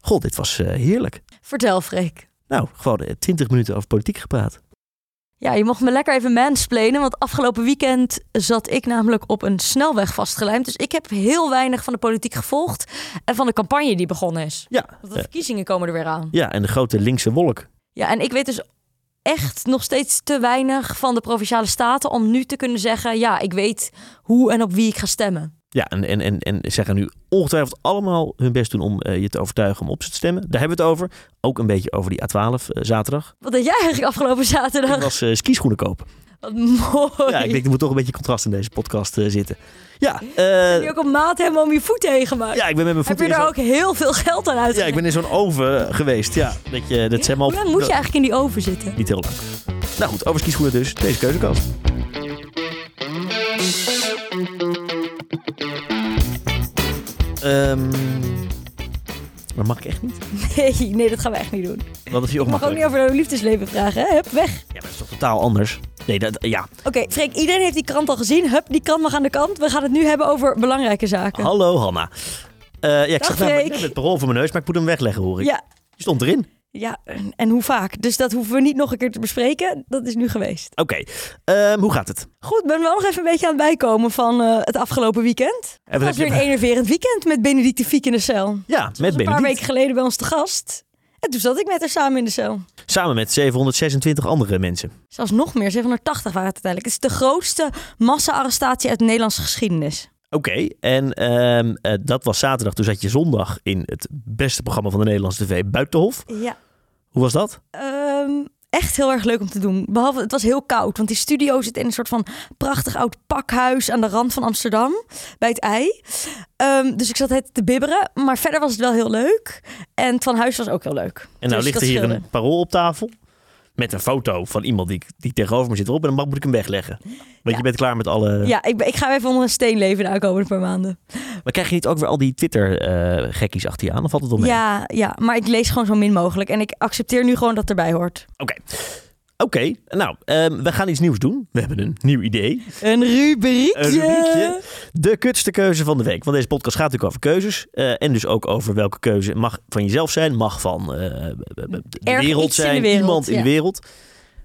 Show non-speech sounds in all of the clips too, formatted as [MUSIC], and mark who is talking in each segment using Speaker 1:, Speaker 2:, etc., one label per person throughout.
Speaker 1: god, dit was eh, heerlijk.
Speaker 2: Vertel, Freek.
Speaker 1: Nou, gewoon twintig minuten over politiek gepraat.
Speaker 2: Ja, je mocht me lekker even mansplainen, want afgelopen weekend zat ik namelijk op een snelweg vastgelijmd. Dus ik heb heel weinig van de politiek gevolgd en van de campagne die begonnen is.
Speaker 1: Ja,
Speaker 2: Want de
Speaker 1: eh,
Speaker 2: verkiezingen komen er weer aan.
Speaker 1: ja, en de grote linkse wolk.
Speaker 2: Ja, en ik weet dus echt nog steeds te weinig van de provinciale staten om nu te kunnen zeggen: ja, ik weet hoe en op wie ik ga stemmen.
Speaker 1: Ja, en, en, en, en zij gaan nu ongetwijfeld allemaal hun best doen om eh, je te overtuigen om op ze te stemmen. Daar hebben we het over. Ook een beetje over die A12 eh, zaterdag.
Speaker 2: Wat deed jij eigenlijk afgelopen
Speaker 1: Ik
Speaker 2: zaterdag?
Speaker 1: was eh, skischoenen kopen.
Speaker 2: Wat mooi.
Speaker 1: Ja, ik denk er moet toch een beetje contrast in deze podcast eh, zitten. Ja, eh,
Speaker 2: Heb je ook op maat helemaal om je voeten heen gemaakt?
Speaker 1: ja, ik ben met mijn
Speaker 2: Heb
Speaker 1: voeten
Speaker 2: je
Speaker 1: in
Speaker 2: daar
Speaker 1: zo'n-
Speaker 2: ook heel veel geld aan
Speaker 1: Ja,
Speaker 2: uitgegeven?
Speaker 1: ik ben in zo'n oven geweest. Ja, dat je, dat is helemaal...
Speaker 2: Hoe lang moet je eigenlijk in die oven zitten?
Speaker 1: Niet heel lang. Nou goed, over skischoenen dus. Deze keuzekast. Ehm maar mag ik echt niet?
Speaker 2: Nee, nee, dat gaan we echt niet doen.
Speaker 1: Want dat is hier ook
Speaker 2: Ik mag ook
Speaker 1: makkelijk.
Speaker 2: niet over jouw liefdesleven vragen, hè? Hup, weg.
Speaker 1: Ja, maar dat is toch totaal anders? Nee, dat, ja.
Speaker 2: Oké, Freek, iedereen heeft die krant al gezien. Hup, die krant mag aan de kant. We gaan het nu hebben over belangrijke zaken.
Speaker 1: Hallo Hanna. Eh, ja, ik
Speaker 2: Dag,
Speaker 1: zag namelijk
Speaker 2: Freek.
Speaker 1: net het parool voor mijn neus, maar ik moet hem wegleggen hoor ik.
Speaker 2: Ja,
Speaker 1: Die stond erin.
Speaker 2: ja, en- en hoe vaak? Dus dat hoeven we niet nog een keer te bespreken. Dat is nu geweest.
Speaker 1: Oké, Ehm, hoe gaat het?
Speaker 2: Goed, ben wel nog even een beetje aan het bijkomen van eh, het afgelopen weekend.
Speaker 1: En
Speaker 2: Het
Speaker 1: wat
Speaker 2: was
Speaker 1: heb
Speaker 2: weer
Speaker 1: je-
Speaker 2: een enerverend weekend met Benedicte Fiek in de cel. Ze
Speaker 1: Ja,
Speaker 2: was
Speaker 1: met
Speaker 2: een paar
Speaker 1: Benedict.
Speaker 2: weken geleden bij ons te gast. En toen zat ik met haar samen in de cel.
Speaker 1: Samen met 726 andere mensen.
Speaker 2: Zelfs nog meer, 780 waren het uiteindelijk. Het is de grootste massa-arrestatie uit de Nederlandse geschiedenis.
Speaker 1: Oké, en ehm, eh, dat was zaterdag. Toen zat je zondag in het beste programma van de Nederlandse tv, Buitenhof.
Speaker 2: Ja.
Speaker 1: Hoe was dat?
Speaker 2: Ehm, echt heel erg leuk om te doen. Behalve, het was heel koud, want die studio zit in een soort van prachtig oud pakhuis aan de rand van Amsterdam, bij het ei. Ehm, dus ik zat het te bibberen, maar verder was het wel heel leuk. En het van huis was ook heel leuk.
Speaker 1: En nou
Speaker 2: Dus
Speaker 1: ligt
Speaker 2: dat
Speaker 1: er hier
Speaker 2: scheelde.
Speaker 1: een parool op tafel. Met een foto van iemand die, ik- die tegenover me zit erop. En dan mag- moet ik hem wegleggen. Want je bent klaar met alle...
Speaker 2: Ja, ik, ben- ik ga even onder een steen leven de aankomende paar maanden.
Speaker 1: Maar krijg je niet ook weer al die Twitter-gekkies achter je aan? Of valt het wel mee?
Speaker 2: Ja, ja, maar ik lees gewoon zo min mogelijk. En ik accepteer nu gewoon dat erbij hoort.
Speaker 1: Oké. Oké, nou, ehm, we gaan iets nieuws doen. We hebben een nieuw idee.
Speaker 2: Een rubriekje.
Speaker 1: Een rubriekje. De kutste keuze van de week. Want deze podcast gaat natuurlijk over keuzes. eh, en dus ook over welke keuze mag van jezelf zijn. Mag van eh, de
Speaker 2: Erg
Speaker 1: wereld
Speaker 2: iets in de
Speaker 1: zijn.
Speaker 2: wereld,
Speaker 1: iemand in
Speaker 2: ja.
Speaker 1: de wereld.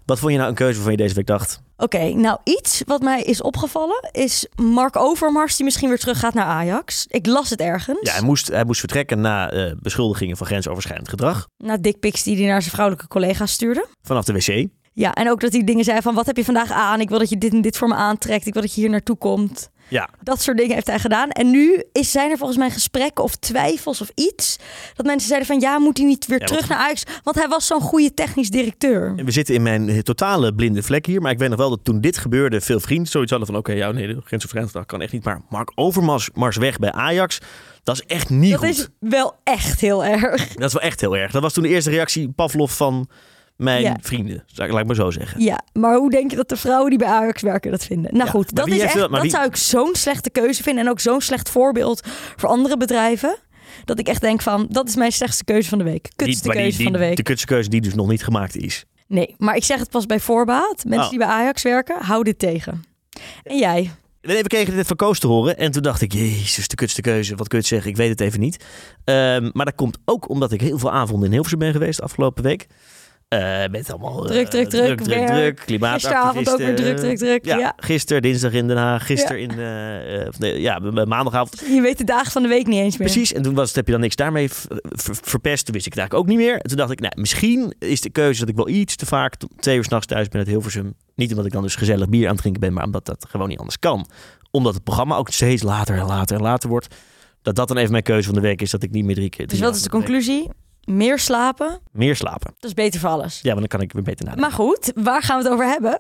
Speaker 1: Wat vond je nou een keuze waarvan je deze week dacht?
Speaker 2: Oké, nou iets wat mij is opgevallen is Mark Overmars die misschien weer teruggaat naar Ajax. Ik las het ergens.
Speaker 1: Ja, hij moest, hij moest vertrekken na eh, beschuldigingen van grensoverschrijdend gedrag.
Speaker 2: Na dickpics die hij naar zijn vrouwelijke collega's stuurde.
Speaker 1: Vanaf de wc.
Speaker 2: Ja, en ook dat hij dingen zei van wat heb je vandaag aan? Ik wil dat je dit en dit voor me aantrekt. Ik wil dat je hier naartoe komt.
Speaker 1: Ja,
Speaker 2: Dat soort dingen heeft hij gedaan. En nu is, zijn er volgens mij gesprekken of twijfels of iets. Dat mensen zeiden van ja, moet hij niet weer
Speaker 1: Ja,
Speaker 2: terug
Speaker 1: wat-
Speaker 2: naar Ajax? Want hij was zo'n goede technisch directeur.
Speaker 1: en we zitten in mijn eh, totale blinde vlek hier. Maar ik weet nog wel dat toen dit gebeurde, veel vrienden zoiets hadden van... Oké, ja, nee, de grensoverschrijdend gedrag kan echt niet. Maar Mark Overmars Mars weg bij Ajax, dat is echt niet
Speaker 2: Dat
Speaker 1: goed.
Speaker 2: is wel echt heel erg.
Speaker 1: Dat is wel echt heel erg. Dat was toen de eerste reactie Pavlov van mijn
Speaker 2: Ja.
Speaker 1: vrienden. Zou ik, laat ik maar zo zeggen.
Speaker 2: Ja, maar hoe denk je dat de vrouwen die bij Ajax werken dat vinden? Nou
Speaker 1: Ja, maar
Speaker 2: goed, dat,
Speaker 1: wie
Speaker 2: is
Speaker 1: heeft
Speaker 2: echt,
Speaker 1: dat-
Speaker 2: dat,
Speaker 1: maar wie-
Speaker 2: zou ik zo'n slechte keuze vinden. En ook zo'n slecht voorbeeld voor andere bedrijven. Dat ik echt denk van, dat is mijn slechtste keuze van de week. Kutste
Speaker 1: maar
Speaker 2: keuze
Speaker 1: die,
Speaker 2: van de week.
Speaker 1: De kutste keuze die dus nog niet gemaakt is.
Speaker 2: Nee, maar ik zeg het pas bij voorbaat. Mensen
Speaker 1: Oh.
Speaker 2: die bij Ajax werken, hou dit tegen. En jij?
Speaker 1: Nee, we kregen dit van Koos te horen. En toen dacht ik, jezus, de kutste keuze. Wat kun je het zeggen? Ik weet het even niet. Ehm, maar dat komt ook omdat ik heel veel avonden in Hilversum ben geweest de afgelopen week. Eh, met allemaal eh,
Speaker 2: Druk, druk, druk,
Speaker 1: druk, druk,
Speaker 2: werk.
Speaker 1: druk, klimaatactivisten.
Speaker 2: Gisteravond ook weer druk, druk, druk.
Speaker 1: Ja,
Speaker 2: Ja.
Speaker 1: gisteren, dinsdag in Den Haag. Gisteren in, eh, eh, of nee, ja, maandagavond.
Speaker 2: Je weet de dagen van de week niet eens meer.
Speaker 1: Precies, en toen was, het- heb je dan niks daarmee v- ver- verpest. Toen wist ik het eigenlijk ook niet meer. En toen dacht ik, nou, misschien is de keuze dat ik wel iets te vaak tot twee uur s'nachts thuis ben uit Hilversum. Niet omdat ik dan dus gezellig bier aan het drinken ben, maar omdat dat gewoon niet anders kan. Omdat het programma ook steeds later en later en later wordt. Dat dat dan even mijn keuze van de week is, dat ik niet meer drie keer...
Speaker 2: Dus
Speaker 1: drie
Speaker 2: wat is de
Speaker 1: avonden per
Speaker 2: conclusie? Meer slapen,
Speaker 1: week Meer slapen.
Speaker 2: dat is beter voor alles.
Speaker 1: Ja, maar dan kan ik weer beter nadenken.
Speaker 2: Maar goed, waar gaan we het over hebben?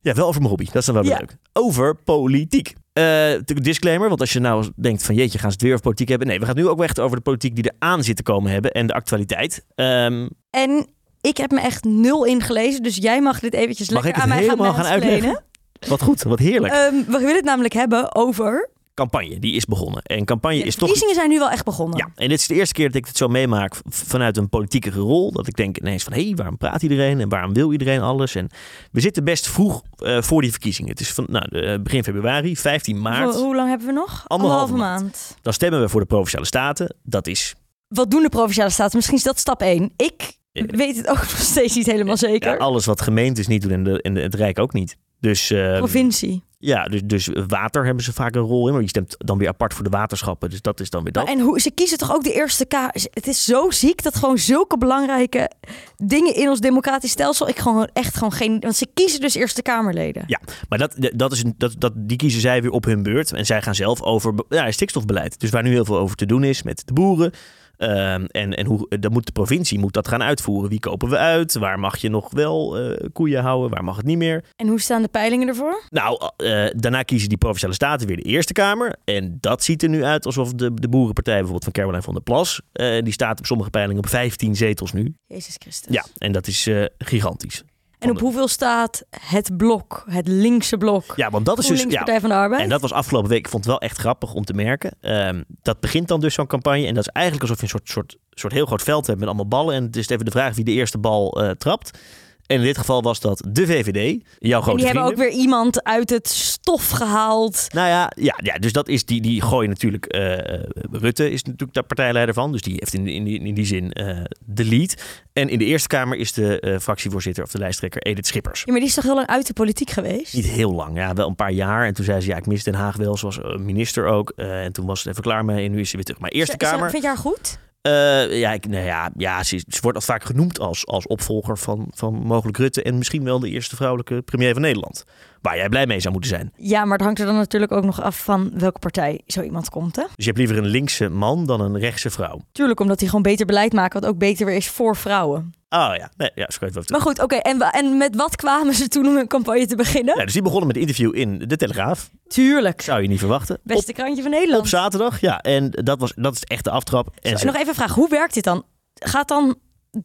Speaker 1: Ja, wel over mijn hobby. Dat is dan wel weer
Speaker 2: Ja.
Speaker 1: leuk. Over politiek. Eh, natuurlijk disclaimer, want als je nou denkt van jeetje, gaan ze het weer over politiek hebben? Nee, we gaan het nu ook echt over de politiek die eraan zit te komen hebben en de actualiteit. Ehm,
Speaker 2: En ik heb me echt nul ingelezen, dus jij mag dit eventjes
Speaker 1: Mag
Speaker 2: lekker
Speaker 1: ik het
Speaker 2: aan mij
Speaker 1: helemaal gaan
Speaker 2: gaan mansplainen.
Speaker 1: wat goed, wat heerlijk.
Speaker 2: Ehm, we willen het namelijk hebben over.
Speaker 1: campagne, die is begonnen. En campagne
Speaker 2: de
Speaker 1: is toch...
Speaker 2: verkiezingen zijn nu wel echt begonnen.
Speaker 1: Ja, en dit is de eerste keer dat ik het zo meemaak v- vanuit een politieke rol. Dat ik denk ineens van, hé, waarom praat iedereen en waarom wil iedereen alles? En we zitten best vroeg eh, voor die verkiezingen. Het is van, nou, eh, begin februari, 15 maart.
Speaker 2: Hoe, hoe lang hebben we nog?
Speaker 1: Anderhalve
Speaker 2: maand.
Speaker 1: Dan stemmen we voor de Provinciale Staten. Dat is
Speaker 2: wat doen de provinciale staten? Misschien is dat stap 1. Ik
Speaker 1: Ja.
Speaker 2: weet het ook [LAUGHS] nog steeds niet helemaal zeker.
Speaker 1: Ja, alles wat gemeentes niet doen en, de, en het Rijk ook niet. Dus, eh,
Speaker 2: Provincie.
Speaker 1: ja, dus, dus water hebben ze vaak een rol in. Maar je stemt dan weer apart voor de waterschappen. Dus dat is dan weer dat.
Speaker 2: Maar en hoe, ze kiezen toch ook de eerste K. Het is zo ziek dat gewoon zulke belangrijke dingen in ons democratisch stelsel. Ik gewoon echt gewoon geen. Want ze kiezen dus Eerste Kamerleden.
Speaker 1: Ja, maar dat, dat is, een- dat, dat, die kiezen zij weer op hun beurt. En zij gaan zelf over be- ja, stikstofbeleid. Dus waar nu heel veel over te doen is met de boeren. ehm, en en hoe, dan moet de provincie moet dat gaan uitvoeren. Wie kopen we uit? Waar mag je nog wel eh, koeien houden? Waar mag het niet meer?
Speaker 2: En hoe staan de peilingen ervoor?
Speaker 1: Nou, eh, daarna kiezen die Provinciale Staten weer de Eerste Kamer. En dat ziet er nu uit alsof de, de boerenpartij bijvoorbeeld van Caroline van der Plas... eh, die staat op sommige peilingen op 15 zetels nu.
Speaker 2: Jezus Christus.
Speaker 1: Ja, en dat is eh, gigantisch.
Speaker 2: En op hoeveel staat het blok, het linkse blok?
Speaker 1: Ja, want dat is dus...
Speaker 2: GroenLinks,
Speaker 1: Ja,
Speaker 2: Partij van de Arbeid.
Speaker 1: En dat was afgelopen week, ik vond het wel echt grappig om te merken. Ehm, dat begint dan dus zo'n campagne. En dat is eigenlijk alsof je een soort, soort, soort heel groot veld hebt met allemaal ballen. En het is even de vraag wie de eerste bal eh, trapt. En in dit geval was dat de VVD, jouw
Speaker 2: En
Speaker 1: grote
Speaker 2: die
Speaker 1: vrienden.
Speaker 2: hebben ook weer iemand uit het stof gehaald.
Speaker 1: Nou ja, ja, ja, dus dat is die, die gooien natuurlijk. eh, eh, Rutte is natuurlijk daar partijleider van. Dus die heeft in, in, die- in die zin eh, de lead. En in de Eerste Kamer is de eh, fractievoorzitter of de lijsttrekker Edith Schippers.
Speaker 2: Ja, maar die is toch heel lang uit de politiek geweest?
Speaker 1: Niet heel lang, ja, wel een paar jaar. En toen zei ze, ja, ik mis Den Haag wel. Ze was eh, minister ook. Eh, en toen was het even klaar mee. En nu is ze weer terug. Maar Eerste
Speaker 2: Ze- ze-
Speaker 1: Kamer,
Speaker 2: Vind je haar goed?
Speaker 1: eh, ja, ik, nou ja, ja ze, ze wordt al vaak genoemd als, als opvolger van, van mogelijk Rutte. En misschien wel de eerste vrouwelijke premier van Nederland. Waar jij blij mee zou moeten zijn.
Speaker 2: Ja, maar het hangt er dan natuurlijk ook nog af van welke partij zo iemand komt, hè?
Speaker 1: Dus je hebt liever een linkse man dan een rechtse vrouw.
Speaker 2: Tuurlijk, omdat die gewoon beter beleid maken, wat ook beter weer is voor vrouwen.
Speaker 1: Oh ja, nee, ja, zo kan je het wel
Speaker 2: Maar goed, oké, en, wa- en met wat kwamen ze toen om hun campagne te beginnen?
Speaker 1: Ja, dus die begonnen met een interview in De Telegraaf.
Speaker 2: Tuurlijk.
Speaker 1: Zou je niet verwachten. Op,
Speaker 2: Beste krantje van
Speaker 1: op
Speaker 2: Nederland.
Speaker 1: zaterdag, ja. En dat, was, dat is echt de aftrap. En
Speaker 2: En
Speaker 1: ze-
Speaker 2: nog even vragen, hoe werkt dit dan? Gaat dan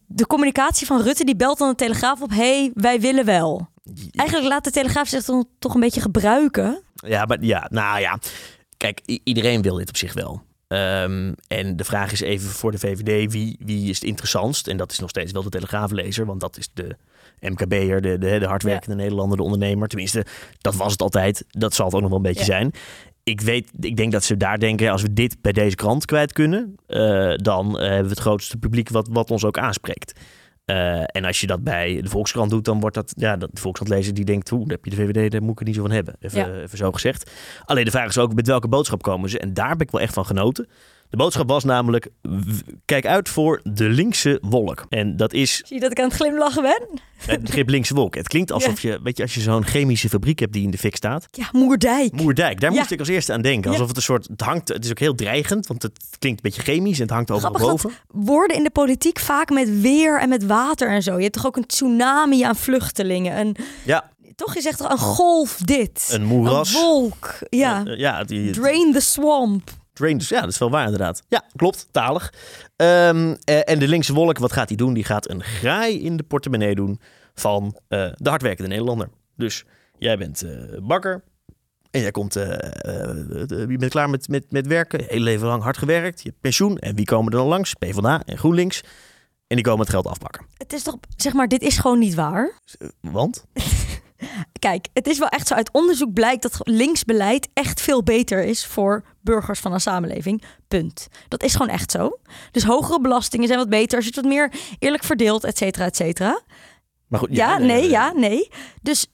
Speaker 2: de communicatie van Rutte, die belt dan de Telegraaf op... hey, wij willen wel. Eigenlijk laat de Telegraaf zich dan toch een beetje gebruiken.
Speaker 1: ja, maar ja, nou ja. Kijk, i- iedereen wil dit op zich wel. Ehm, en de vraag is even voor de VVD, wie, wie is het interessantst? En dat is nog steeds wel de Telegraaflezer, want dat is de MKB'er, de, de, de hardwerkende Nederlander, de ondernemer. Tenminste, dat was het altijd. Dat zal het ook nog wel een beetje
Speaker 2: Ja.
Speaker 1: zijn. Ik, weet, ik denk dat ze daar denken, als we dit bij deze krant kwijt kunnen, eh, dan eh, hebben we het grootste publiek wat, wat ons ook aanspreekt. Eh, en als je dat bij de Volkskrant doet, dan wordt dat... Ja, dat de Volkskrantlezer die denkt, hoe, dan heb je de VVD, daar moet ik het niet zo van hebben. Even,
Speaker 2: Ja.
Speaker 1: even zo gezegd. Alleen de vraag is ook, met welke boodschap komen ze? En daar heb ik wel echt van genoten. De boodschap was namelijk, w- kijk uit voor de linkse wolk. En dat is
Speaker 2: Zie je dat ik aan het glimlachen ben?
Speaker 1: het
Speaker 2: [LAUGHS]
Speaker 1: begrip linkse wolk. Het klinkt alsof je, weet je, als je zo'n chemische fabriek hebt die in de fik staat.
Speaker 2: Ja, Moerdijk.
Speaker 1: Moerdijk, daar
Speaker 2: Ja.
Speaker 1: moest ik als eerste aan denken.
Speaker 2: Ja.
Speaker 1: Alsof het een soort, het hangt, het is ook heel dreigend, want het klinkt een beetje chemisch en het hangt overal
Speaker 2: Grappig
Speaker 1: boven.
Speaker 2: Woorden in de politiek vaak met weer en met water en zo. Je hebt toch ook een tsunami aan vluchtelingen. Een,
Speaker 1: Ja,
Speaker 2: toch, je zegt toch een golf dit.
Speaker 1: een moeras.
Speaker 2: Een wolk. Ja.
Speaker 1: Eh, eh, ja, die,
Speaker 2: Drain the swamp.
Speaker 1: Drain, dus ja, dat is wel waar inderdaad. Ja, klopt, talig. Ehm, eh, en de linkse wolk, wat gaat die doen? Die gaat een graai in de portemonnee doen van eh, de hardwerkende Nederlander. Dus jij bent eh, bakker en jij komt, eh, eh, eh, je bent klaar met, met, met werken, je hele leven lang hard gewerkt, je hebt pensioen. En wie komen er dan langs? PvdA en GroenLinks. En die komen het geld afpakken.
Speaker 2: Het is toch, zeg maar, dit is gewoon niet waar.
Speaker 1: Want?
Speaker 2: Kijk, het is wel echt zo. Uit onderzoek blijkt dat linksbeleid echt veel beter is voor burgers van een samenleving. Punt. Dat is gewoon echt zo. Dus hogere belastingen zijn wat beter. Als je het wat meer eerlijk verdeelt, et cetera, et cetera.
Speaker 1: Maar goed,
Speaker 2: Ja, nee,
Speaker 1: eh,
Speaker 2: ja, nee. Dus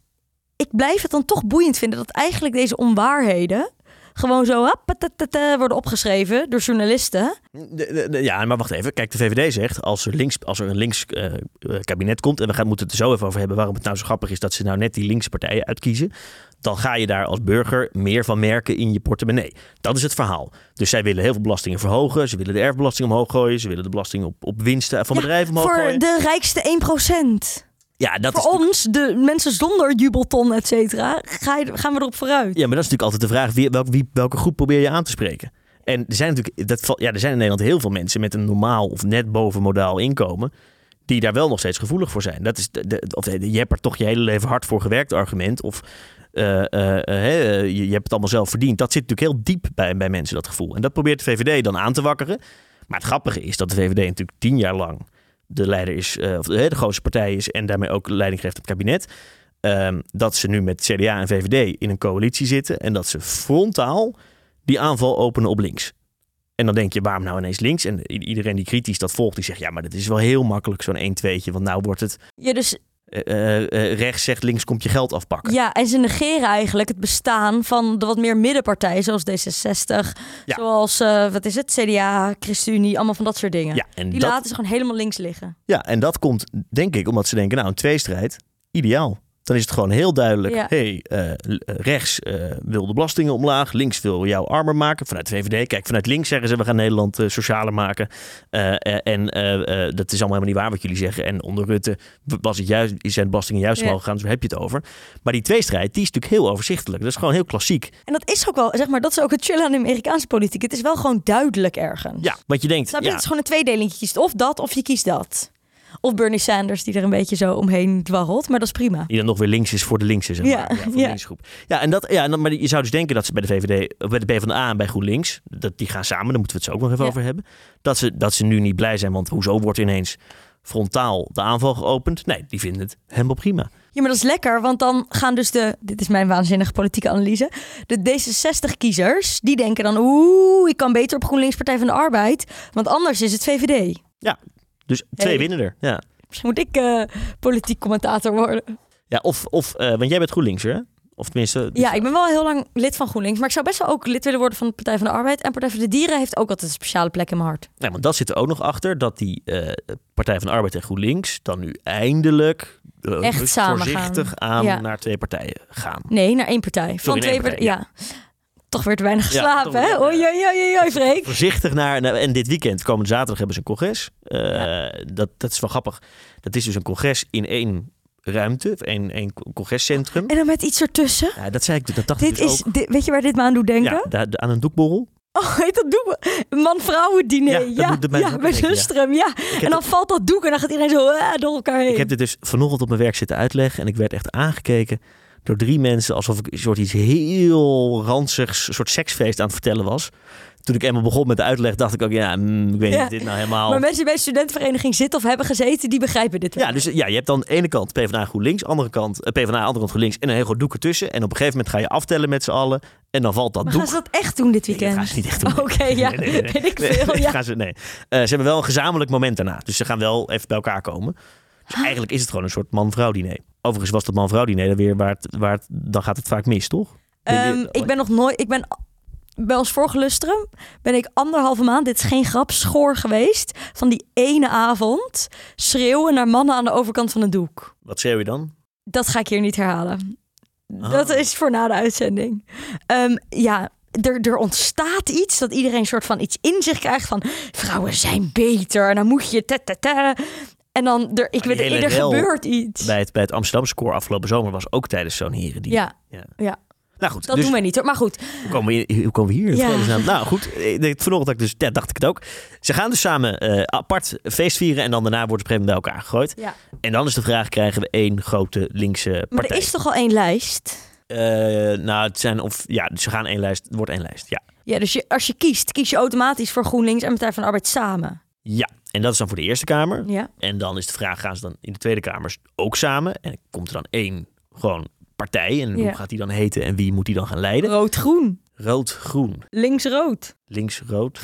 Speaker 2: ik blijf het dan toch boeiend vinden dat eigenlijk deze onwaarheden gewoon zo happatatata, worden opgeschreven door journalisten.
Speaker 1: De- de- de- ja, maar wacht even. Kijk, de VVD zegt als er, links, als er een links eh, eh, kabinet komt, en we gaan, moeten het er zo even over hebben waarom het nou zo grappig is dat ze nou net die linkse partijen uitkiezen, dan ga je daar als burger meer van merken in je portemonnee. Dat is het verhaal. Dus zij willen heel veel belastingen verhogen, ze willen de erfbelasting omhoog gooien, ze willen de belasting op, op winsten van
Speaker 2: Ja,
Speaker 1: bedrijven omhoog
Speaker 2: voor
Speaker 1: gooien.
Speaker 2: de rijkste 1%.
Speaker 1: Ja, dat is
Speaker 2: voor ons, de mensen zonder jubelton, et cetera, ga je- gaan we erop vooruit.
Speaker 1: Ja, maar dat is natuurlijk altijd de vraag: wie, welk, wie, welke groep probeer je aan te spreken? En er zijn natuurlijk, dat, val- ja, er zijn in Nederland heel veel mensen met een normaal of net boven modaal inkomen. die daar wel nog steeds gevoelig voor zijn. Dat is de, de- of eh, je hebt er toch je hele leven hard voor gewerkt argument. Of eh, eh, eh, hè, eh, je, je hebt het allemaal zelf verdiend. Dat zit natuurlijk heel diep bij, bij mensen, dat gevoel. En dat probeert de VVD dan aan te wakkeren. Maar het grappige is dat de VVD natuurlijk tien jaar lang de leider is, eh, of de, de grootste partij is en daarmee ook leiding geeft op het kabinet. Ehm, dat ze nu met CDA en VVD in een coalitie zitten en dat ze frontaal die aanval openen op links. En dan denk je, waarom nou ineens links? En i- iedereen die kritisch dat volgt, die zegt, ja, maar dat is wel heel makkelijk zo'n 1-2'tje. Want nou wordt het
Speaker 2: Ja, dus,
Speaker 1: eh, eh, eh, rechts zegt, links komt je geld afpakken.
Speaker 2: ja, en ze negeren eigenlijk het bestaan van de wat meer middenpartijen, zoals D66,
Speaker 1: Ja.
Speaker 2: zoals, eh, wat is het, CDA, ChristenUnie, allemaal van dat soort dingen.
Speaker 1: Ja, en
Speaker 2: Die
Speaker 1: dat,
Speaker 2: laten ze gewoon helemaal links liggen.
Speaker 1: ja, en dat komt, denk ik, omdat ze denken, nou, een tweestrijd, ideaal. Dan is het gewoon heel duidelijk,
Speaker 2: Ja.
Speaker 1: hey, eh, l- eh, rechts eh, wil de belastingen omlaag, links wil jou armer maken. Vanuit de VVD, kijk, vanuit links zeggen ze, we gaan Nederland eh, socialer maken. Eh, eh, en eh, eh, dat is allemaal helemaal niet waar wat jullie zeggen. En onder Rutte was het juist, zijn de belastingen juist
Speaker 2: Ja.
Speaker 1: omhoog gegaan, dus daar heb je het over. Maar die tweestrijd, die is natuurlijk heel overzichtelijk. Dat is gewoon heel klassiek.
Speaker 2: En dat is ook wel, zeg maar, dat is ook het chill aan de Amerikaanse politiek. Het is wel gewoon duidelijk ergens.
Speaker 1: Ja, want je denkt,
Speaker 2: Snap je?
Speaker 1: ja,
Speaker 2: Het is gewoon een tweedeling. Je kiest of dat of je kiest dat. Of Bernie Sanders die er een beetje zo omheen dwarrelt, maar dat is prima.
Speaker 1: Die dan nog weer links is voor de linkse, zeg maar.
Speaker 2: Ja,
Speaker 1: Ja, voor de
Speaker 2: ja.
Speaker 1: linksgroep. Ja, en dat, ja, en dan, maar je zou dus denken dat ze bij de VVD, of bij de PvdA en bij GroenLinks, dat, die gaan samen, daar moeten we het zo ook nog even
Speaker 2: Ja.
Speaker 1: over hebben, dat ze, dat ze nu niet blij zijn, want hoezo wordt ineens frontaal de aanval geopend? Nee, die vinden het helemaal prima.
Speaker 2: Ja, maar dat is lekker, want dan gaan dus de, dit is mijn waanzinnige politieke analyse, de D66-kiezers, die denken dan, oeh, ik kan beter op GroenLinks Partij van de Arbeid, want anders is het VVD.
Speaker 1: Dus twee
Speaker 2: Hey.
Speaker 1: winnen er. Ja,
Speaker 2: Misschien moet ik eh, politiek commentator worden.
Speaker 1: ja of, of eh, want jij bent GroenLinkser, hè? Of tenminste, dus-
Speaker 2: Ja, ik ben wel heel lang lid van GroenLinks, maar ik zou best wel ook lid willen worden van de Partij van de Arbeid. En Partij voor de Dieren heeft ook altijd een speciale plek in mijn hart.
Speaker 1: nou, want dat zit er ook nog achter, dat die eh, Partij van de Arbeid en GroenLinks dan nu eindelijk eh,
Speaker 2: Echt samen gaan.
Speaker 1: voorzichtig aan
Speaker 2: Ja.
Speaker 1: naar twee partijen gaan.
Speaker 2: Nee, naar één partij. Van
Speaker 1: Sorry, naar
Speaker 2: twee
Speaker 1: één
Speaker 2: partij,
Speaker 1: partij,
Speaker 2: ja. Toch weer te weinig
Speaker 1: Ja,
Speaker 2: geslapen,
Speaker 1: toch
Speaker 2: hè?
Speaker 1: weer-
Speaker 2: Oei, oei, oei, oei,
Speaker 1: [LAUGHS]
Speaker 2: Freek.
Speaker 1: voorzichtig naar. nou, En dit weekend, komende zaterdag, hebben ze een congres. Eh, dat, dat is wel grappig. Dat is dus een congres in één ruimte, of één, één congrescentrum.
Speaker 2: En dan met iets ertussen.
Speaker 1: Ja, dat zei ik, dat dacht ik
Speaker 2: Dit
Speaker 1: dus
Speaker 2: is,
Speaker 1: ook.
Speaker 2: dit- weet je waar dit me aan doet denken?
Speaker 1: Ja, da- da- aan een doekborrel.
Speaker 2: Oh, heet dat doek? Man-vrouwen diner.
Speaker 1: Ja, dat
Speaker 2: Ja,
Speaker 1: doet het
Speaker 2: ja,
Speaker 1: mij ook
Speaker 2: bij
Speaker 1: denken, ja.
Speaker 2: Lustrum, ja.
Speaker 1: Ik
Speaker 2: En
Speaker 1: heb,
Speaker 2: dan valt dat doek en dan gaat iedereen zo eh, door elkaar heen.
Speaker 1: ik heb dit dus vanochtend op mijn werk zitten uitleggen. En ik werd echt aangekeken door drie mensen. Alsof ik een soort iets heel ranzigs, een soort seksfeest aan het vertellen was. Toen ik eenmaal begon met de uitleg, dacht ik ook, ja, mm, ik weet
Speaker 2: Ja.
Speaker 1: niet of dit nou helemaal...
Speaker 2: Maar mensen die bij een studentenvereniging zitten of hebben gezeten, die begrijpen dit wel.
Speaker 1: Ja, dus ja, je hebt dan aan de ene kant PvdA GroenLinks, andere kant eh, PvdA, andere kant GroenLinks en een heel groot doek ertussen. En op een gegeven moment ga je aftellen met z'n allen en dan valt dat
Speaker 2: maar
Speaker 1: doek.
Speaker 2: gaan ze dat echt doen dit
Speaker 1: Nee, dat
Speaker 2: weekend?
Speaker 1: gaan ze niet echt doen.
Speaker 2: Oké, ja,
Speaker 1: [LAUGHS] Nee, nee, nee, nee.
Speaker 2: weet ik
Speaker 1: Nee,
Speaker 2: veel.
Speaker 1: nee,
Speaker 2: ja.
Speaker 1: gaan [LAUGHS] ze, nee. Eh, ze hebben wel een gezamenlijk moment daarna. Dus ze gaan wel even bij elkaar komen. Dus
Speaker 2: Ah.
Speaker 1: eigenlijk is het gewoon een soort man-vrouw diner. Overigens was dat man-vrouw diner dan weer waar het, waar het, dan gaat het vaak mis, toch?
Speaker 2: Ehm, ik ben nog nooit, ik ben bij ons vorige lustrum ben ik anderhalve maand, dit is geen grap, schoor geweest van die ene avond schreeuwen naar mannen aan de overkant van het doek.
Speaker 1: Wat schreeuw je dan?
Speaker 2: Dat ga ik hier niet herhalen. Dat
Speaker 1: Ah.
Speaker 2: is voor na de uitzending. Ehm, ja, er, er ontstaat iets dat iedereen een soort van iets in zich krijgt van vrouwen zijn beter en dan moet je ta ta ta. En dan er, ik
Speaker 1: die
Speaker 2: weet, er
Speaker 1: hele
Speaker 2: er
Speaker 1: rel
Speaker 2: gebeurt iets.
Speaker 1: Bij het, bij het Amsterdamse koor afgelopen zomer was ook tijdens zo'n heren die.
Speaker 2: Ja,
Speaker 1: Ja.
Speaker 2: ja,
Speaker 1: Nou goed,
Speaker 2: dat
Speaker 1: dus
Speaker 2: doen wij niet hoor. Maar goed,
Speaker 1: Hoe komen we hier? Hoe komen we hier in
Speaker 2: Ja.
Speaker 1: vredesnaam? Nou goed, ik denk- vanochtend dacht ik dus, ja, dacht ik het ook. Ze gaan dus samen eh, apart feest vieren en dan daarna wordt het op een gegeven moment bij elkaar gegooid.
Speaker 2: ja.
Speaker 1: En dan is de vraag, krijgen we één grote linkse
Speaker 2: maar
Speaker 1: partij?
Speaker 2: er is toch al één lijst?
Speaker 1: Eh, nou, het zijn of, ja, ze gaan één lijst, het wordt één lijst, ja.
Speaker 2: Ja, dus je, als je kiest, kies je automatisch voor GroenLinks en Partij van de Arbeid samen.
Speaker 1: Ja, en dat is dan voor de Eerste Kamer.
Speaker 2: Ja.
Speaker 1: En dan is de vraag, gaan ze dan in de Tweede Kamer ook samen? En komt er dan één gewoon partij en
Speaker 2: Ja.
Speaker 1: hoe gaat die dan heten en wie moet die dan gaan leiden?
Speaker 2: Rood-groen.
Speaker 1: Rood-groen,
Speaker 2: Links-rood. [LAUGHS]
Speaker 1: links-rood.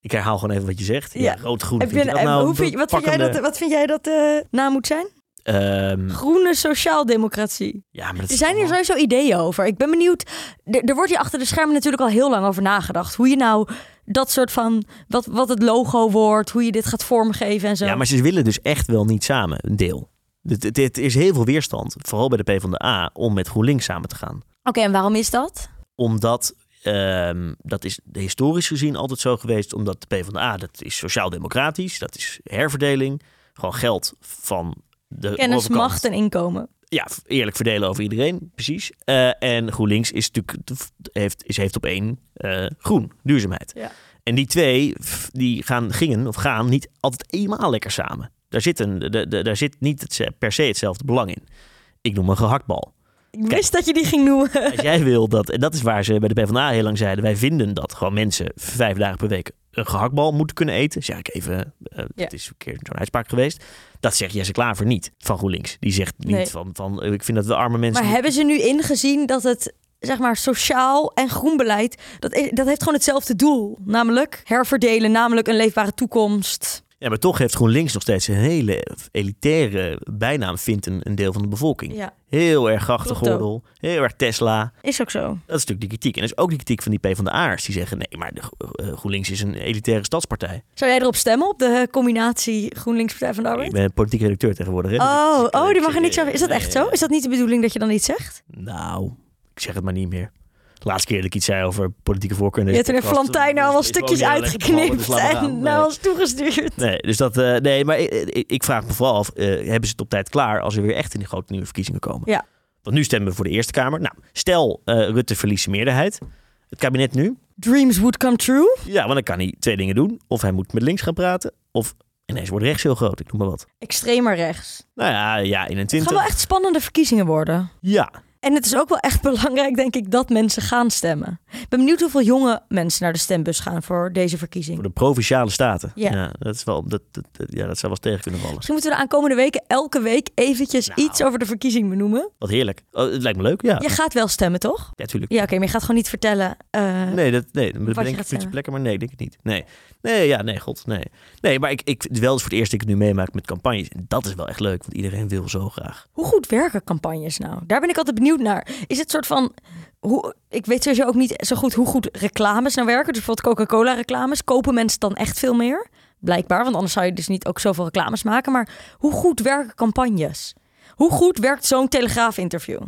Speaker 1: Ik herhaal gewoon even wat je zegt. Ja,
Speaker 2: Ja.
Speaker 1: rood-groen.
Speaker 2: Heb
Speaker 1: vind
Speaker 2: je
Speaker 1: je
Speaker 2: een-
Speaker 1: dat nou
Speaker 2: hoe vind je- wat, vind jij
Speaker 1: pakkende-
Speaker 2: dat, wat vind jij dat de naam moet zijn?
Speaker 1: Ehm,
Speaker 2: Groene sociaaldemocratie.
Speaker 1: ja, maar dat
Speaker 2: Er
Speaker 1: is
Speaker 2: zijn hier
Speaker 1: allemaal-
Speaker 2: sowieso ideeën over. Ik ben benieuwd. Er, er wordt hier achter de schermen natuurlijk al heel lang over nagedacht. Hoe je nou dat soort van. wat, wat het logo wordt, hoe je dit gaat vormgeven en zo.
Speaker 1: Ja, maar ze willen dus echt wel niet samen, een deel. Dit, dit is heel veel weerstand, vooral bij de PvdA, om met GroenLinks samen te gaan.
Speaker 2: Oké, en waarom is dat?
Speaker 1: Omdat, ehm, dat is historisch gezien altijd zo geweest, omdat de PvdA, dat is sociaal-democratisch, dat is herverdeling, gewoon geld van de
Speaker 2: Kennis,
Speaker 1: overkant.
Speaker 2: macht en inkomen.
Speaker 1: Ja, eerlijk verdelen over iedereen, precies. Eh, en GroenLinks is natuurlijk, de- heeft, is, heeft op één eh, groen, duurzaamheid.
Speaker 2: Ja.
Speaker 1: En die twee, f- die gaan, gingen of gaan niet altijd eenmaal lekker samen. Daar zit, een, de- de- daar zit niet het- eh, per se hetzelfde belang in. Ik noem een
Speaker 2: [LAUGHS]
Speaker 1: gehaktbal.
Speaker 2: Ik wist dat je die ging noemen.
Speaker 1: Als jij wil dat, en dat is waar ze bij de PvdA heel lang zeiden, wij vinden dat gewoon mensen vijf dagen per week een gehaktbal moeten kunnen eten. Zeg ik even, eh
Speaker 2: Ja.
Speaker 1: het is een keer zo'n uitspraak geweest. Dat zegt Jesse Klaver niet van GroenLinks. Die zegt niet
Speaker 2: Nee.
Speaker 1: van, van, eh, ik vind dat we arme mensen...
Speaker 2: Maar hebben ze nu ingezien dat het zeg maar, sociaal en groen beleid, dat, i- dat heeft gewoon hetzelfde doel. Namelijk herverdelen, namelijk een leefbare toekomst.
Speaker 1: Ja, maar toch heeft GroenLinks nog steeds een hele elitaire bijnaam, vindt een, een deel van de bevolking.
Speaker 2: Ja,
Speaker 1: Heel erg grachtengordel,
Speaker 2: Klopt
Speaker 1: heel erg Tesla.
Speaker 2: is ook zo.
Speaker 1: Dat is natuurlijk de kritiek. En dat is ook de kritiek van die P van de Aars. Die zeggen, nee, maar de, Gro- eh, GroenLinks is een elitaire stadspartij.
Speaker 2: Zou jij erop stemmen op de combinatie GroenLinks Partij van de
Speaker 1: Ik
Speaker 2: Arbeid?
Speaker 1: ben politiek redacteur tegenwoordig. hè, dus
Speaker 2: Oh,
Speaker 1: ik- ik-
Speaker 2: oh, die mag
Speaker 1: ik-
Speaker 2: er niks over. Is dat
Speaker 1: nee,
Speaker 2: echt zo? Is dat niet de bedoeling dat je dan iets zegt?
Speaker 1: Nou, ik zeg het maar niet meer. De laatste keer dat ik iets zei over politieke voorkeur. in
Speaker 2: Je
Speaker 1: deze
Speaker 2: hebt er in
Speaker 1: podcast,
Speaker 2: Flantijn
Speaker 1: was-
Speaker 2: al wel
Speaker 1: is gewoon
Speaker 2: stukjes
Speaker 1: niet alleen gevallen, dus
Speaker 2: uitgeknipt
Speaker 1: laat maar gaan.
Speaker 2: en nou
Speaker 1: Nee.
Speaker 2: naar ons toegestuurd.
Speaker 1: Nee, dus dat, eh, nee, maar ik, ik- ik vraag me vooral af, eh, hebben ze het op tijd klaar als er weer echt in die grote nieuwe verkiezingen komen?
Speaker 2: Ja.
Speaker 1: Want nu stemmen we voor de Eerste Kamer. Nou, stel eh, Rutte verliest zijn meerderheid. Het kabinet nu.
Speaker 2: Dreams would come true.
Speaker 1: Ja, want dan kan hij twee dingen doen. Of hij moet met links gaan praten. Of ineens wordt rechts heel groot. Ik noem maar wat.
Speaker 2: Extremer rechts.
Speaker 1: Nou ja, ja,
Speaker 2: Het
Speaker 1: 21.
Speaker 2: gaan wel echt spannende verkiezingen worden.
Speaker 1: Ja,
Speaker 2: En het is ook wel echt belangrijk, denk ik, dat mensen gaan stemmen. Ik ben benieuwd hoeveel jonge mensen naar de stembus gaan voor deze verkiezing.
Speaker 1: voor de provinciale staten.
Speaker 2: Ja.
Speaker 1: dat, is wel, dat, dat- dat- ja, dat zou wel eens tegen kunnen vallen.
Speaker 2: Misschien moeten we de aankomende weken elke week eventjes
Speaker 1: Nou.
Speaker 2: iets over de verkiezing benoemen.
Speaker 1: Wat heerlijk. Oh, het lijkt me leuk, ja.
Speaker 2: Je gaat wel stemmen, toch?
Speaker 1: Ja, tuurlijk.
Speaker 2: Ja, oké, maar je gaat gewoon niet vertellen. eh,
Speaker 1: Nee, dat, nee, dat
Speaker 2: Wat je
Speaker 1: bedenk ik
Speaker 2: gaat
Speaker 1: nu ter
Speaker 2: zeggen.
Speaker 1: plekke, maar nee, ik denk het niet. Nee, nee, ja, nee, god, nee. Nee, maar ik, ik, het is wel eens voor het eerst dat ik het nu meemaak met campagnes. En dat is wel echt leuk, want iedereen wil zo graag.
Speaker 2: Hoe goed werken campagnes nou? Daar ben ik altijd benieuwd naar. Is het soort van. Hoe, ik weet sowieso ook niet zo goed hoe goed reclames nou werken. Dus bijvoorbeeld Coca-Cola-reclames. Kopen mensen dan echt veel meer? Blijkbaar, want anders zou je dus niet ook zoveel reclames maken. Maar hoe goed werken campagnes? Hoe goed werkt zo'n Telegraaf-interview?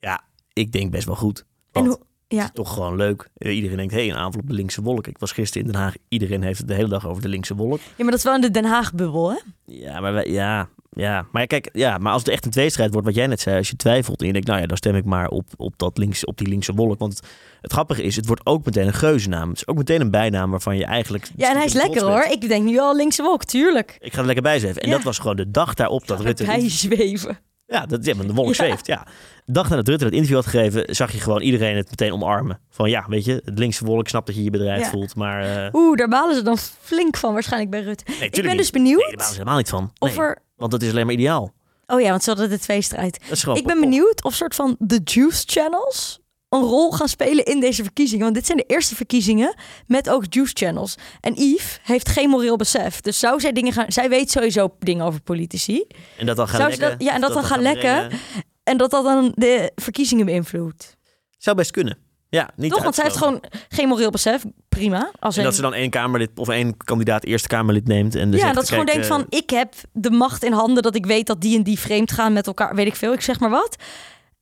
Speaker 1: Ja, ik denk best wel goed.
Speaker 2: En
Speaker 1: Want
Speaker 2: hoe,
Speaker 1: het
Speaker 2: ja,
Speaker 1: is toch gewoon leuk. Eh, Iedereen denkt, hé, hey, een aanval op de linkse wolk. Ik was gisteren in Den Haag. Iedereen heeft het de hele dag over de linkse wolk.
Speaker 2: ja, maar dat is wel in de Den Haag-bubbel, hè?
Speaker 1: Ja, maar wij- ja, ja. Maar ja, kijk, ja, maar als het echt een tweestrijd wordt, wat jij net zei, als je twijfelt en je denkt, nou ja, dan stem ik maar op, op, dat links, op die linkse wolk. Want het, het grappige is, het wordt ook meteen een geuzennaam. Het is ook meteen een bijnaam waarvan je eigenlijk.
Speaker 2: Ja, en hij is
Speaker 1: stiekem
Speaker 2: lekker
Speaker 1: trots
Speaker 2: hoor.
Speaker 1: bent.
Speaker 2: Ik denk nu al linkse wolk, tuurlijk.
Speaker 1: Ik ga er lekker bij zweven. En
Speaker 2: Ja.
Speaker 1: dat was gewoon de dag daarop dat Rutte.
Speaker 2: Hij zweven.
Speaker 1: Ja, dat, ja, maar de wolk
Speaker 2: Ja.
Speaker 1: zweeft. Ja. De dag nadat Rutte dat interview had gegeven, zag je gewoon iedereen het meteen omarmen. Van ja, weet je, het linkse wolk snapt dat je je bedrijf
Speaker 2: Ja.
Speaker 1: voelt. Maar. eh,
Speaker 2: Oeh, daar balen ze dan flink van waarschijnlijk bij Rutte.
Speaker 1: nee,
Speaker 2: ik ben
Speaker 1: tuurlijk
Speaker 2: dus
Speaker 1: niet.
Speaker 2: benieuwd
Speaker 1: Nee, daar waren ze helemaal niet van.
Speaker 2: of
Speaker 1: Nee,
Speaker 2: er...
Speaker 1: Want dat is alleen maar ideaal.
Speaker 2: Oh ja, want ze hadden de tweestrijd.
Speaker 1: Dat is gewoon
Speaker 2: Ik ben benieuwd of soort van de juice channels een rol gaan spelen in deze verkiezingen. Want dit zijn de eerste verkiezingen met ook juice channels. En Yves heeft geen moreel besef. Dus zou zij dingen gaan... Zij weet sowieso dingen over politici.
Speaker 1: En dat dan gaan
Speaker 2: Zou ze
Speaker 1: lekken.
Speaker 2: dat- ja, en
Speaker 1: of
Speaker 2: dat dan gaan lekken.
Speaker 1: brengen.
Speaker 2: En dat dat dan de verkiezingen beïnvloedt.
Speaker 1: Zou best kunnen. Ja, niet
Speaker 2: Toch? Want zij heeft
Speaker 1: uitgesloten.
Speaker 2: gewoon geen moreel besef. Prima. Als
Speaker 1: En
Speaker 2: in-
Speaker 1: dat ze dan één Kamerlid of één kandidaat Eerste Kamerlid neemt. En dus
Speaker 2: ja,
Speaker 1: zegt,
Speaker 2: dat ze gewoon
Speaker 1: kijk,
Speaker 2: denkt van... ik heb de macht in handen dat ik weet dat die en die vreemd gaan met elkaar. Weet ik veel, ik zeg maar wat.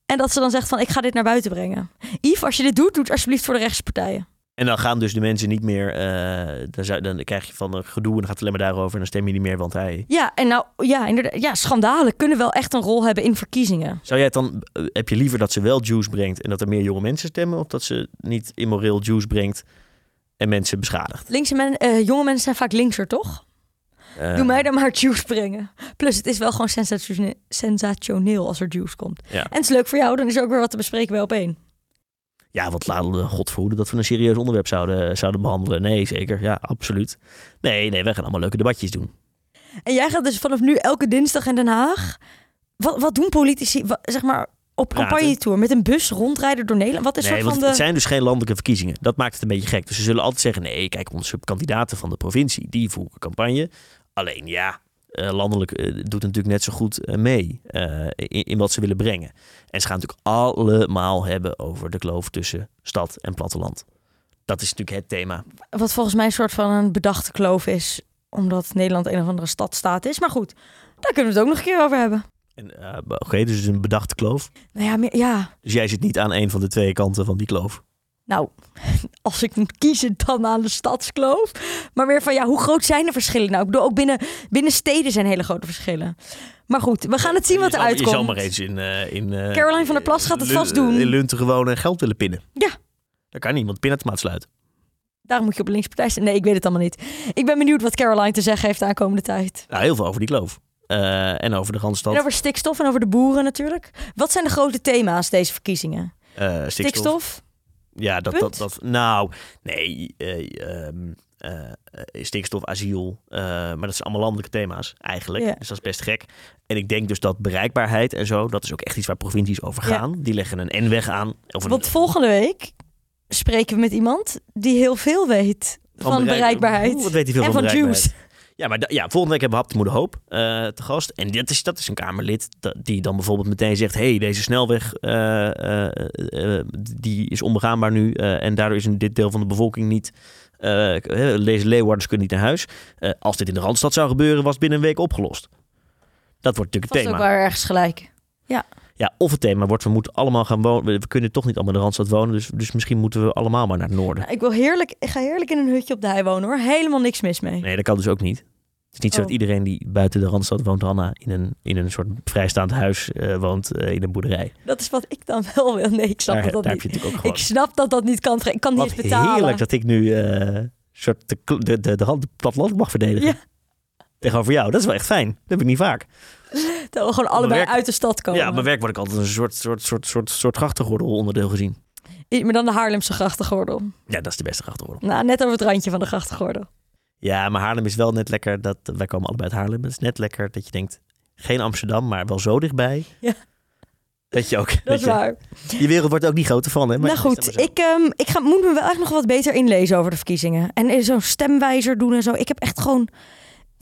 Speaker 2: En dat ze dan zegt van, ik ga dit naar buiten brengen. Yves, als je dit doet, doe het alsjeblieft voor de rechtspartijen.
Speaker 1: eh, En dan gaan dus de mensen niet meer... eh, dan, zou- dan krijg je van eh, gedoe en dan gaat het alleen maar daarover. En dan stem je niet meer, want hij...
Speaker 2: Ja, en nou, ja, inderdaad, ja, schandalen kunnen wel echt een rol hebben in verkiezingen.
Speaker 1: Zou jij het dan... eh, Heb je liever dat ze wel juice brengt en dat er meer jonge mensen stemmen? Of dat ze niet immoreel juice brengt en mensen beschadigt?
Speaker 2: Linkse men, eh, jonge mensen zijn vaak linkser, toch?
Speaker 1: Eh,
Speaker 2: Doe mij dan maar juice brengen. Plus, het is wel gewoon sensatione- sensationeel als er juice komt.
Speaker 1: Ja.
Speaker 2: En het is leuk voor jou, dan is er ook weer wat te bespreken bij op één.
Speaker 1: Ja, want laten we God verhoeden dat we een serieus onderwerp zouden, eh, zouden behandelen. Nee, zeker. Ja, absoluut. Nee, nee, wij gaan allemaal leuke debatjes doen.
Speaker 2: En jij gaat dus vanaf nu elke dinsdag in Den Haag. Wat, wat doen politici, wa- zeg maar, op
Speaker 1: Praten.
Speaker 2: campagne-tour? Met een bus rondrijden door Nederland? Wat is
Speaker 1: Nee,
Speaker 2: soort
Speaker 1: want
Speaker 2: van de...
Speaker 1: het zijn dus geen landelijke verkiezingen. Dat maakt het een beetje gek. Dus ze zullen altijd zeggen, nee, kijk, onze kandidaten van de provincie, die voeren campagne. Alleen ja, eh, landelijk eh, doet het natuurlijk net zo goed eh, mee eh, in, in wat ze willen brengen. En ze gaan het natuurlijk allemaal hebben over de kloof tussen stad en platteland. Dat is natuurlijk het thema.
Speaker 2: Wat volgens mij een soort van een bedachte kloof is. Omdat Nederland een of andere stadstaat is. Maar goed, daar kunnen we het ook nog een keer over hebben.
Speaker 1: En, eh, Oké, dus het is een bedachte kloof.
Speaker 2: Nou ja, meer- ja.
Speaker 1: Dus jij zit niet aan een van de twee kanten van die kloof.
Speaker 2: Nou, [LAUGHS] als ik moet kiezen, dan aan de stadskloof. Maar meer van, ja, hoe groot zijn de verschillen nou? Ik bedoel, ook binnen, binnen steden zijn hele grote verschillen. Maar goed, we gaan het zien wat
Speaker 1: je zal-
Speaker 2: eruit komt.
Speaker 1: Je zal maar eens in... eh, in eh,
Speaker 2: Caroline van der Plas gaat het vast doen.
Speaker 1: In Lunten gewoon eh, geld willen pinnen.
Speaker 2: Ja.
Speaker 1: Dat kan niet, want pinautomaat sluit.
Speaker 2: Daarom moet je op de linkspartij staan. Nee, ik weet het allemaal niet. Ik ben benieuwd wat Caroline te zeggen heeft de aankomende tijd.
Speaker 1: Nou, heel veel over die kloof. Eh, en over de Randstad.
Speaker 2: En over stikstof en over de boeren natuurlijk. Wat zijn de grote thema's deze verkiezingen?
Speaker 1: Eh, stikstof.
Speaker 2: Stikstof?
Speaker 1: Ja, dat, dat,
Speaker 2: Punt.
Speaker 1: dat. Nou, nee. eh, ehm, eh, eh, stikstof, asiel. eh, maar dat zijn allemaal landelijke thema's eigenlijk.
Speaker 2: Ja.
Speaker 1: Dus dat is best gek. En ik denk dus dat bereikbaarheid en zo, dat is ook echt iets waar provincies over
Speaker 2: Ja.
Speaker 1: gaan. Die leggen een N-weg aan. Of een,
Speaker 2: Want volgende week spreken we met iemand die heel veel weet van,
Speaker 1: bereik-
Speaker 2: bereikbaarheid.
Speaker 1: Oeh, Wat weet hij veel
Speaker 2: en
Speaker 1: van
Speaker 2: van
Speaker 1: bereikbaarheid?
Speaker 2: juice.
Speaker 1: Ja, maar da- ja, volgende week hebben we Hap de Moeder Hoop eh, te gast. En dat is, dat is een Kamerlid da- die dan bijvoorbeeld meteen zegt... hey, deze snelweg eh, eh, eh, eh, die is onbegaanbaar nu... eh, en daardoor is een, dit deel van de bevolking niet... eh, k- eh, deze leeuwarders kunnen niet naar huis. Eh, als dit in de Randstad zou gebeuren, was het binnen een week opgelost. Dat wordt natuurlijk
Speaker 2: Vast
Speaker 1: het
Speaker 2: ook
Speaker 1: thema.
Speaker 2: wel ergens gelijk.
Speaker 1: Ja, of het thema wordt, we moeten allemaal gaan wonen... we we kunnen toch niet allemaal in de Randstad wonen... dus, dus misschien moeten we allemaal maar naar het noorden.
Speaker 2: Nou, ik, wil heerlijk, ik ga heerlijk in een hutje op de hei wonen hoor. Helemaal niks mis mee.
Speaker 1: Nee, dat kan dus ook niet. Het is niet zo
Speaker 2: Oh.
Speaker 1: dat iedereen die buiten de Randstad woont, Hanna, in een, in een soort vrijstaand huis eh, woont eh, in een boerderij.
Speaker 2: Dat is wat ik dan wel wil. Nee, ik snap
Speaker 1: daar
Speaker 2: dat
Speaker 1: daar
Speaker 2: dat
Speaker 1: heb je
Speaker 2: niet.
Speaker 1: natuurlijk ook gewoon.
Speaker 2: [LAUGHS] Ik snap dat dat niet kan. Ik kan niet
Speaker 1: Wat
Speaker 2: eens betalen.
Speaker 1: heerlijk dat ik nu eh soort de, kl- de, de, de, hand- het platteland mag verdedigen.
Speaker 2: Ja.
Speaker 1: Tegenover jou, dat is wel echt fijn. Dat heb ik niet vaak.
Speaker 2: Dat we gewoon allebei
Speaker 1: werk-
Speaker 2: uit de stad komen.
Speaker 1: Ja, op mijn werk word ik altijd een soort, soort, soort, soort, soort grachtengordel onderdeel gezien.
Speaker 2: I- maar dan de Haarlemse grachtengordel.
Speaker 1: Ja, dat is de beste grachtengordel.
Speaker 2: Nou, net over het randje van de grachtengordel.
Speaker 1: Ja, maar Haarlem is wel net lekker. Dat, wij komen allebei uit Haarlem. Het is net lekker dat je denkt, geen Amsterdam, maar wel zo dichtbij.
Speaker 2: Ja.
Speaker 1: Dat je ook.
Speaker 2: Dat is
Speaker 1: je,
Speaker 2: waar.
Speaker 1: je wereld wordt er ook niet groter van, hè? Maar
Speaker 2: nou
Speaker 1: ja, is
Speaker 2: goed,
Speaker 1: allemaal zo.
Speaker 2: ik, ehm, ik ga, moet me wel echt nog wat beter inlezen over de verkiezingen. En eh, zo'n stemwijzer doen en zo. Ik heb echt gewoon...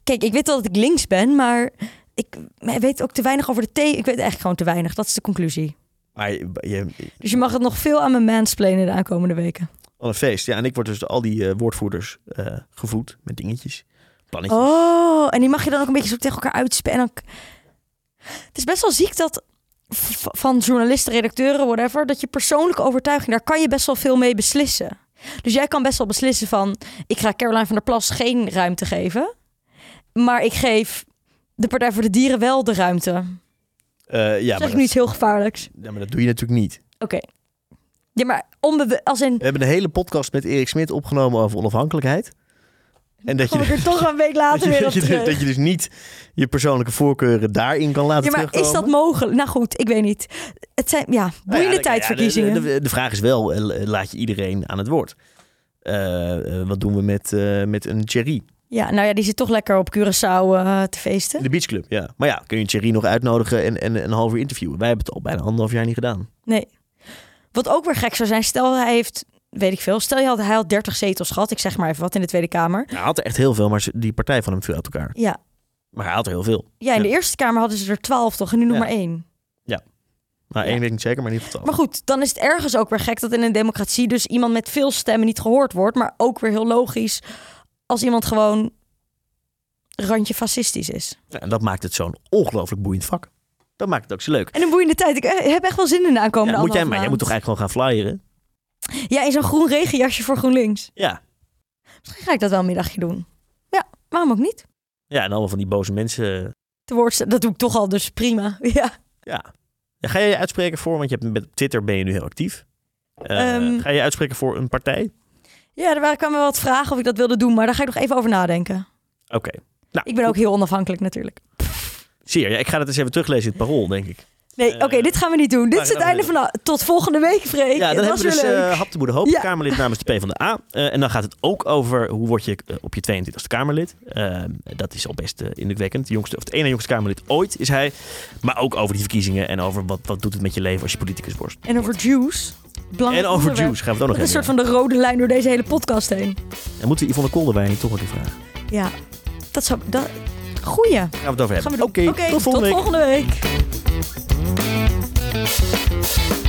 Speaker 2: Kijk, ik weet wel dat ik links ben, maar ik weet ook te weinig over de thee. Ik weet eigenlijk gewoon te weinig. Dat is de conclusie.
Speaker 1: Maar je, je-
Speaker 2: Dus je mag het nog veel aan mijn mansplainen de aankomende weken.
Speaker 1: al een feest. Ja, en ik word dus door al die eh, woordvoerders eh, gevoed met dingetjes. Pannetjes.
Speaker 2: Oh, en die mag je dan ook een beetje zo tegen elkaar uitspelen. En dan- Het is best wel ziek dat v- van journalisten, redacteuren, whatever, dat je persoonlijke overtuiging, daar kan je best wel veel mee beslissen. Dus jij kan best wel beslissen van, ik ga Caroline van der Plas geen ruimte geven, maar ik geef de Partij voor de Dieren wel de ruimte.
Speaker 1: Eh, ja,
Speaker 2: zeg
Speaker 1: maar
Speaker 2: ik
Speaker 1: dat,
Speaker 2: nu iets heel gevaarlijks.
Speaker 1: ja, maar dat doe je natuurlijk niet.
Speaker 2: Oké. Ja, maar onbewust, als in,
Speaker 1: We hebben een hele podcast met Erik Smit opgenomen over onafhankelijkheid. En [LAUGHS] dat je,
Speaker 2: kom ik Oh, er
Speaker 1: dus-
Speaker 2: toch een week
Speaker 1: dat,
Speaker 2: later
Speaker 1: je,
Speaker 2: weer op
Speaker 1: dat, je, dus-
Speaker 2: terug.
Speaker 1: dat je dus niet je persoonlijke voorkeuren daarin kan laten
Speaker 2: Ja, maar
Speaker 1: terugkomen.
Speaker 2: is dat mogelijk? Nou goed, ik weet niet. Het zijn, ja,
Speaker 1: Nou
Speaker 2: boeiende
Speaker 1: ja, dan- ja,
Speaker 2: tijdverkiezingen.
Speaker 1: de, de- de vraag is wel, eh, laat je iedereen aan het woord? Eh, eh, wat doen we met, eh, met een Thierry?
Speaker 2: Ja, nou ja, die zit toch lekker op Curaçao eh, te feesten.
Speaker 1: De beachclub, ja. Maar ja, kun je Thierry nog uitnodigen en, en een half uur interviewen? Wij hebben het al bijna anderhalf jaar niet gedaan.
Speaker 2: Wat ook weer gek zou zijn, stel hij heeft, weet ik veel, stel je had, hij had 30 zetels gehad, ik zeg maar even wat, in de Tweede Kamer.
Speaker 1: Hij had er echt heel veel, maar ze- die partij van hem viel uit elkaar.
Speaker 2: Ja,
Speaker 1: Maar hij had er heel veel.
Speaker 2: ja in de
Speaker 1: Ja.
Speaker 2: Eerste Kamer hadden ze er 12 toch en nu nog
Speaker 1: Ja.
Speaker 2: maar één.
Speaker 1: Nou,
Speaker 2: Ja.
Speaker 1: één weet ik niet zeker, maar in ieder geval
Speaker 2: Maar
Speaker 1: twaalf.
Speaker 2: goed, dan is het ergens ook weer gek dat in een democratie dus iemand met veel stemmen niet gehoord wordt. Maar ook weer heel logisch als iemand gewoon randje fascistisch is.
Speaker 1: Ja, En dat maakt het zo'n ongelooflijk boeiend vak. Dat maakt het ook zo leuk.
Speaker 2: En een boeiende tijd. Ik eh, heb echt wel zin in de
Speaker 1: Ja,
Speaker 2: aankomende
Speaker 1: moet jij,
Speaker 2: anderhalve
Speaker 1: maar jij
Speaker 2: maand.
Speaker 1: moet toch eigenlijk gewoon gaan flyeren?
Speaker 2: Ja, in zo'n groen regenjasje voor GroenLinks.
Speaker 1: Ja.
Speaker 2: Misschien ga ik dat wel een middagje doen. Ja, waarom ook niet?
Speaker 1: Ja, en allemaal van die boze mensen.
Speaker 2: Te woord staan, dat doe ik toch al, dus prima. [LAUGHS] Ja.
Speaker 1: Ja. Ja, Ga je je uitspreken voor, want je hebt, met Twitter ben je nu heel actief. Eh,
Speaker 2: Ehm.
Speaker 1: ga je je uitspreken voor een partij?
Speaker 2: Ja, er waren- kwamen wel wat vragen of ik dat wilde doen, maar daar ga ik nog even over nadenken.
Speaker 1: Oké. Nou,
Speaker 2: Ik ben ook heel onafhankelijk natuurlijk.
Speaker 1: Zie je, ja, ik ga dat eens even teruglezen in het parool, denk ik.
Speaker 2: Nee, oké, dit gaan we niet doen. Dit
Speaker 1: Eh, maar
Speaker 2: is het
Speaker 1: dan-
Speaker 2: einde van... nou, Tot volgende week, Freek.
Speaker 1: ja, dan
Speaker 2: Het
Speaker 1: hebben
Speaker 2: was
Speaker 1: we dus
Speaker 2: weer leuk.
Speaker 1: eh Hap de Moeder Hoop,
Speaker 2: Ja.
Speaker 1: Kamerlid namens de PvdA. Eh en dan gaat het ook over hoe word je eh, op je 22e Kamerlid. Eh, dat is al best eh, indrukwekkend. De jongste, of het ene jongste Kamerlid ooit is hij. Maar ook over die verkiezingen en over wat, wat doet het met je leven als je politicus wordt.
Speaker 2: En over juice. Belangrijk
Speaker 1: eh, En over
Speaker 2: onderwerp.
Speaker 1: Juice gaan we het ook nog
Speaker 2: Dat
Speaker 1: even
Speaker 2: is een soort van de rode lijn door deze hele podcast heen.
Speaker 1: En moeten we Yvonne Kolderwijn toch wel die vraag? Gaan
Speaker 2: Ja, dat zou... Dat... Goeie.
Speaker 1: we het over
Speaker 2: Gaan
Speaker 1: hebben.
Speaker 2: we doen.
Speaker 1: Oké, tot volgende
Speaker 2: tot
Speaker 1: week.
Speaker 2: volgende week.